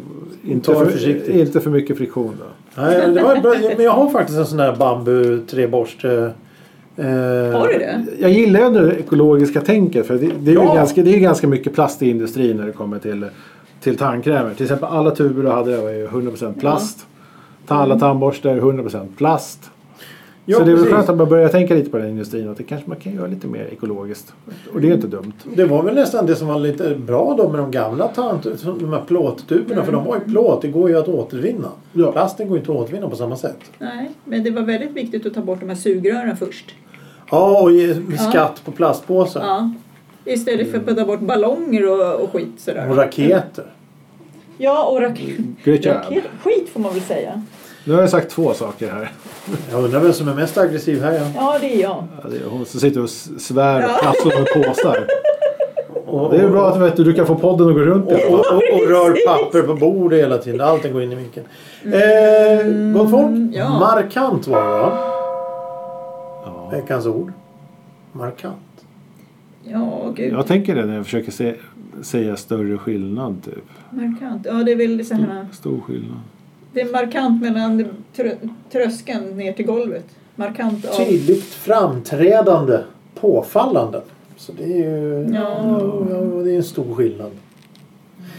[SPEAKER 3] inte,
[SPEAKER 1] Ta det
[SPEAKER 3] för-
[SPEAKER 1] försiktigt.
[SPEAKER 3] inte för mycket friktion då.
[SPEAKER 1] Nej, det var bra. Men jag har faktiskt en sån där bambu treborste. Eh,
[SPEAKER 2] Har du det?
[SPEAKER 3] Jag gillar ju det ekologiska tänket för det, det, är,
[SPEAKER 1] Ja.
[SPEAKER 3] ju ganska, det är ju ganska mycket plast i industrin när det kommer till, till tandkrämer. Till exempel alla tuber du hade var ju 100% plast. Ta Alla tandborstar är 100% plast.
[SPEAKER 1] Mm. Ja,
[SPEAKER 3] så det är väl
[SPEAKER 1] precis.
[SPEAKER 3] skönt att man börjar tänka lite på den industrin att det kanske man kan göra lite mer ekologiskt. Och det är inte dumt.
[SPEAKER 1] Det var väl nästan det som var lite bra då med de gamla tant, de här plåttuberna. För de var ju plåt, det går ju att återvinna.
[SPEAKER 3] Ja.
[SPEAKER 1] Plasten går ju inte att återvinna på samma sätt.
[SPEAKER 2] Nej, men det var väldigt viktigt att ta bort de här sugrören först.
[SPEAKER 1] Ja, och ge skatt på plastpåsar.
[SPEAKER 2] Ja. Istället för
[SPEAKER 3] Mm.
[SPEAKER 2] att ta bort ballonger och, och skit sådär.
[SPEAKER 1] Och raketer.
[SPEAKER 2] Ja, och raket.
[SPEAKER 3] Good job.
[SPEAKER 2] raket. Skit får man väl säga.
[SPEAKER 3] Nu har jag sagt två saker här.
[SPEAKER 1] Jag undrar vem som är mest aggressiv här. Ja.
[SPEAKER 2] Ja, det är jag.
[SPEAKER 3] Ja, det är Hon som sitter och s- svär och prasslar med påsar.
[SPEAKER 1] Och,
[SPEAKER 3] Det är ju bra att vet du, du kan få podden att gå runt i alla
[SPEAKER 1] och,
[SPEAKER 3] fall.
[SPEAKER 1] och, och rör papper på bordet hela tiden. Allting går in i micken. Eh, gott folk.
[SPEAKER 2] ja.
[SPEAKER 1] Markant var det va?
[SPEAKER 3] Ja.
[SPEAKER 1] Veckans ord. Markant.
[SPEAKER 2] Ja, gud.
[SPEAKER 3] Jag tänker det när jag försöker se, säga större skillnad typ.
[SPEAKER 2] Markant. Ja, det är väl så här.
[SPEAKER 3] Stor skillnad.
[SPEAKER 2] Det är markant mellan trö tröskeln ner till golvet. Markant av...
[SPEAKER 1] Tydligt framträdande. Påfallande. Så det är ju
[SPEAKER 2] Ja.
[SPEAKER 1] ja, det är en stor skillnad.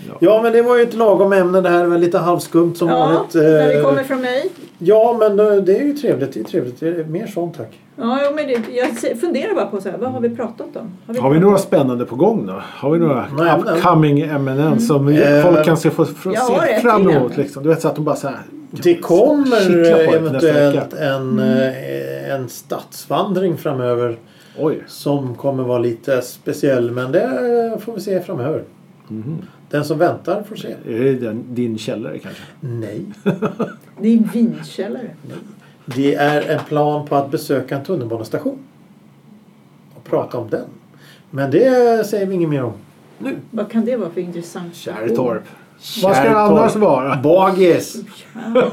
[SPEAKER 3] Ja.
[SPEAKER 1] Ja men det var ju ett lagom ämne det här. var Lite halvskumt som
[SPEAKER 2] Ja,
[SPEAKER 1] vanligt.
[SPEAKER 2] när det
[SPEAKER 1] Eh,
[SPEAKER 2] kommer från mig.
[SPEAKER 1] Ja men eh, det är ju trevligt. Det är trevligt. Det är mer sånt tack.
[SPEAKER 2] Ja, jo, men det, jag se- funderar bara på så här, vad har vi pratat om?
[SPEAKER 3] Har vi några spännande på gång då? Har vi några
[SPEAKER 1] Nej, men-
[SPEAKER 3] upcoming ämnen som
[SPEAKER 1] Eh,
[SPEAKER 3] folk kan se, få, få,
[SPEAKER 2] jag har
[SPEAKER 3] se
[SPEAKER 2] ett
[SPEAKER 3] fram
[SPEAKER 2] till
[SPEAKER 3] emot?
[SPEAKER 2] ämne.
[SPEAKER 3] Liksom. Du vet så att de bara så här.
[SPEAKER 1] Det kommer
[SPEAKER 3] kittla på det nästa
[SPEAKER 1] eventuellt
[SPEAKER 3] vecka.
[SPEAKER 1] en,
[SPEAKER 2] Mm.
[SPEAKER 1] eh, en stadsvandring framöver
[SPEAKER 3] Oj.
[SPEAKER 1] som kommer vara lite speciell men det eh, får vi se framöver. Den som väntar får se.
[SPEAKER 3] Mhm. Är det den, din källare kanske?
[SPEAKER 1] Nej.
[SPEAKER 2] Det är vinkällare.
[SPEAKER 1] Det är en plan på att besöka en tunnelbanestation. Och prata om den. Men det säger vi inget mer om. Nu.
[SPEAKER 2] Vad kan det vara för intressant?
[SPEAKER 3] Kärrtorp. Vad ska det
[SPEAKER 1] Kärrtorp.
[SPEAKER 3] annars vara?
[SPEAKER 1] Bagis!
[SPEAKER 2] Ja,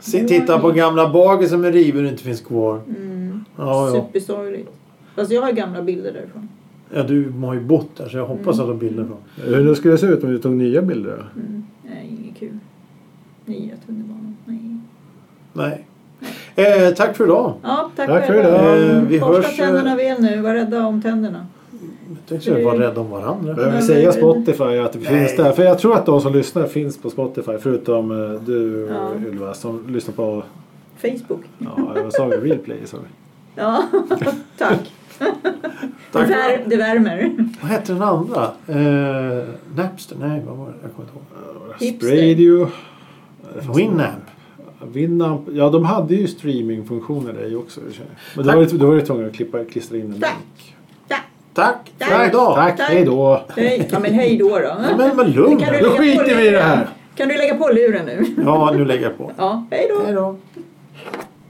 [SPEAKER 1] Se, titta på gamla bagis som är riven och inte finns kvar. Ja, ja.
[SPEAKER 2] Supersorgligt. Fast jag har gamla bilder därifrån.
[SPEAKER 1] ja, du har ju bott där så jag hoppas att du har bilder från.
[SPEAKER 3] Hur skulle det se ut om du tog nya bilder? då?
[SPEAKER 2] Nej, inget kul. Nya tunnelbanan. Nej.
[SPEAKER 1] Nej. Eh, tack för idag.
[SPEAKER 2] Ja, tack, Mm.
[SPEAKER 3] Tack för
[SPEAKER 1] idag. Eh, vi
[SPEAKER 2] Borsta
[SPEAKER 1] hörs, eh,
[SPEAKER 2] tänderna väl nu. Var rädda om tänderna.
[SPEAKER 1] Tänk så vi var rädda om varandra.
[SPEAKER 3] Behöver
[SPEAKER 2] men-
[SPEAKER 3] vi säga Spotify att det
[SPEAKER 1] Nej.
[SPEAKER 3] finns där? För jag tror att de som lyssnar finns på Spotify förutom eh, du
[SPEAKER 2] Ja.
[SPEAKER 3] Ylva som lyssnar på,
[SPEAKER 2] Facebook.
[SPEAKER 3] ja vad sa vi, Replay sa vi.
[SPEAKER 2] Ja, tack. Det,
[SPEAKER 1] Tack.
[SPEAKER 2] vär, det värmer.
[SPEAKER 1] Vad hette den andra? Eh, Napster? Nej, vad var det? Jag kommer inte ihåg.
[SPEAKER 2] Hipster.
[SPEAKER 3] Radio.
[SPEAKER 1] Winamp.
[SPEAKER 3] Winamp, ja de hade ju streamingfunktioner där i också. i och för sig. Men då
[SPEAKER 1] Tack.
[SPEAKER 3] var, det, då var det tvungen att klippa, klistra in
[SPEAKER 2] Tack.
[SPEAKER 3] en länk.
[SPEAKER 2] Tack.
[SPEAKER 1] Tack för
[SPEAKER 2] Tack.
[SPEAKER 1] idag!
[SPEAKER 3] Tack,
[SPEAKER 2] Tack.
[SPEAKER 3] hej då!
[SPEAKER 2] Hej. Ja, men hej då då.
[SPEAKER 1] Ja, Men, men lugn!
[SPEAKER 2] Kan du
[SPEAKER 3] Då
[SPEAKER 2] lägga på
[SPEAKER 3] skiter vi i det här.
[SPEAKER 2] luren? Kan du lägga på luren nu?
[SPEAKER 1] Ja, nu lägger jag på.
[SPEAKER 2] Ja, hej då.
[SPEAKER 1] Hej då!